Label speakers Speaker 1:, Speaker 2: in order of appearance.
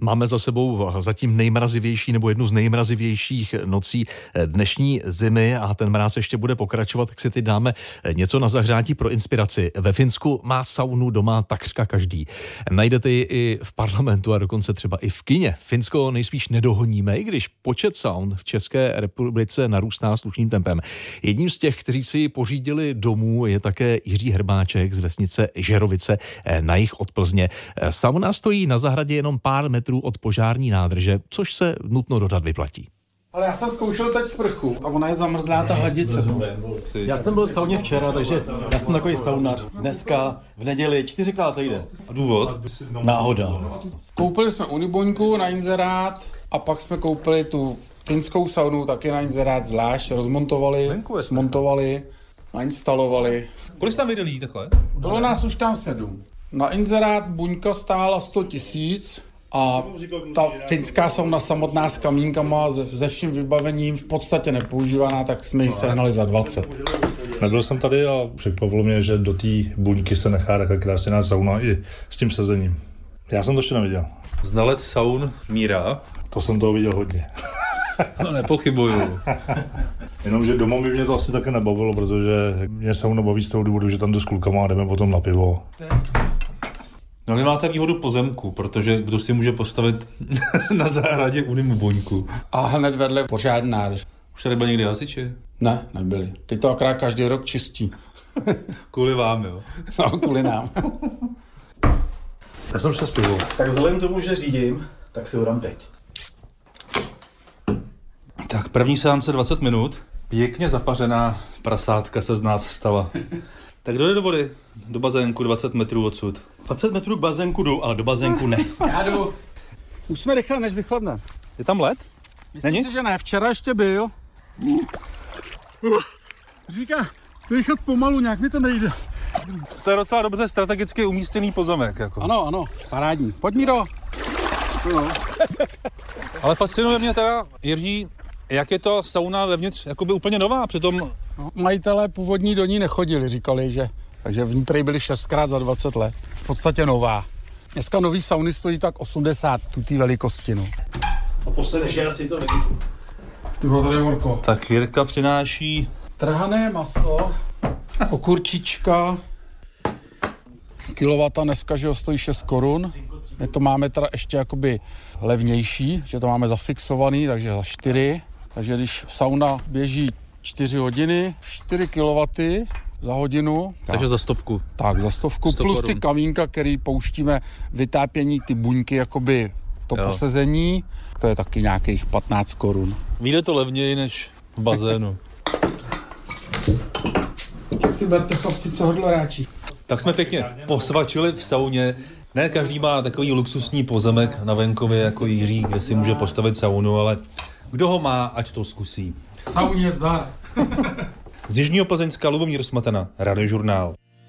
Speaker 1: Máme za sebou zatím nejmrazivější nebo jednu z nejmrazivějších nocí eh, dnešní zimy a ten mráz ještě bude pokračovat, tak si teď dáme eh, něco na zahřátí pro inspiraci. Ve Finsku má saunu doma takřka každý. Najdete ji i v parlamentu a dokonce třeba i v kině. Finsko nejspíš nedohoníme, i když počet saun v České republice narůstá slušným tempem. Jedním z těch, kteří si ji pořídili domů, je také Jiří Hrbáček z vesnice Žerovice eh, na jich od Plzně. Eh, Sauna stojí na zahradě jenom pár metrů metrů od požární nádrže, což se nutno dodat vyplatí.
Speaker 2: Ale já jsem zkoušel teď sprchu a ona je zamrzlá ta hadice.
Speaker 3: Já jsem byl v sauně včera, takže já jsem takový saunař. Dneska v neděli čtyřikrát týden.
Speaker 4: A důvod?
Speaker 3: Náhoda.
Speaker 2: Koupili jsme uniboňku na inzerát a pak jsme koupili tu finskou saunu taky na inzerát zvlášť. Rozmontovali, smontovali, nainstalovali.
Speaker 4: Kolik jste tam viděl lidí takhle?
Speaker 2: Bylo nás už tam sedm. Na inzerát buňka stála 100 tisíc, a ta finská sauna samotná s kamínkama, se vším vybavením, v podstatě nepoužívaná, tak jsme ji sehnali za 20.
Speaker 5: Nebyl jsem tady a překvapilo mě, že do té buňky se nechá taková krásná sauna i s tím sezením. Já jsem to ještě neviděl.
Speaker 4: Znalec saun Míra.
Speaker 5: To jsem toho viděl hodně.
Speaker 4: No nepochybuju.
Speaker 5: Jenomže doma by mě to asi také nebavilo, protože mě sauna baví z toho důvodu, že tam jdu s klukama a jdeme potom na pivo.
Speaker 4: No ale máte výhodu pozemku, protože kdo si může postavit na zahradě unimu boňku.
Speaker 2: A hned vedle pořád nádrž.
Speaker 4: Už tady byl někdy hasiči?
Speaker 2: Ne, nebyli. Teď to akorát každý rok čistí.
Speaker 4: kvůli vám, jo?
Speaker 2: No, kvůli nám.
Speaker 5: Já jsem přes pivo.
Speaker 3: Tak vzhledem tomu, že řídím, tak si ho dám teď.
Speaker 4: Tak první seance 20 minut. Pěkně zapařená prasátka se z nás stala. tak dojde do vody, do bazénku 20 metrů odsud.
Speaker 3: 20 metrů k bazénku jdu, ale do bazénku ne.
Speaker 2: Já jdu. Už jsme rychle, než vychladne.
Speaker 4: Je tam led?
Speaker 2: Myslím Není? si, že ne, včera ještě byl. Říká, dýchat pomalu, nějak mi to nejde.
Speaker 4: To je docela dobře strategicky umístěný pozemek. Jako.
Speaker 2: Ano, ano, parádní. Pojď, Míro. No.
Speaker 4: Ale fascinuje mě teda, Jiří, jak je to sauna vevnitř jakoby úplně nová, přitom...
Speaker 2: No, majitelé původní do ní nechodili, říkali, že takže v ní prý byly 6x za 20 let. V podstatě nová. Dneska nový sauny stojí tak 80 tutý velikosti, no.
Speaker 3: A poslední, že asi to vidím.
Speaker 2: Ty tady horko.
Speaker 4: Tak Jirka přináší...
Speaker 2: Trhané maso, okurčička, kilovata dneska, že ho stojí 6 korun. My to máme teda ještě jakoby levnější, že to máme zafixovaný, takže za 4. Takže když sauna běží 4 hodiny, 4 kW za hodinu.
Speaker 4: Takže za stovku.
Speaker 2: Tak, za stovku, 100 plus korun. ty kamínka, který pouštíme vytápění, ty buňky, jakoby to jo. posezení, to je taky nějakých 15 korun.
Speaker 4: Vyjde to levněji než v bazénu.
Speaker 2: Jak si berte chlapci, co hrdlo ráčí.
Speaker 4: Tak jsme pěkně posvačili v sauně. Ne každý má takový luxusní pozemek na venkově jako Jiří, kde si může postavit saunu, ale kdo ho má, ať to zkusí.
Speaker 2: Sauně zdar.
Speaker 4: Z Jižního Plzeňska Lubomír Smatana, Radiožurnál.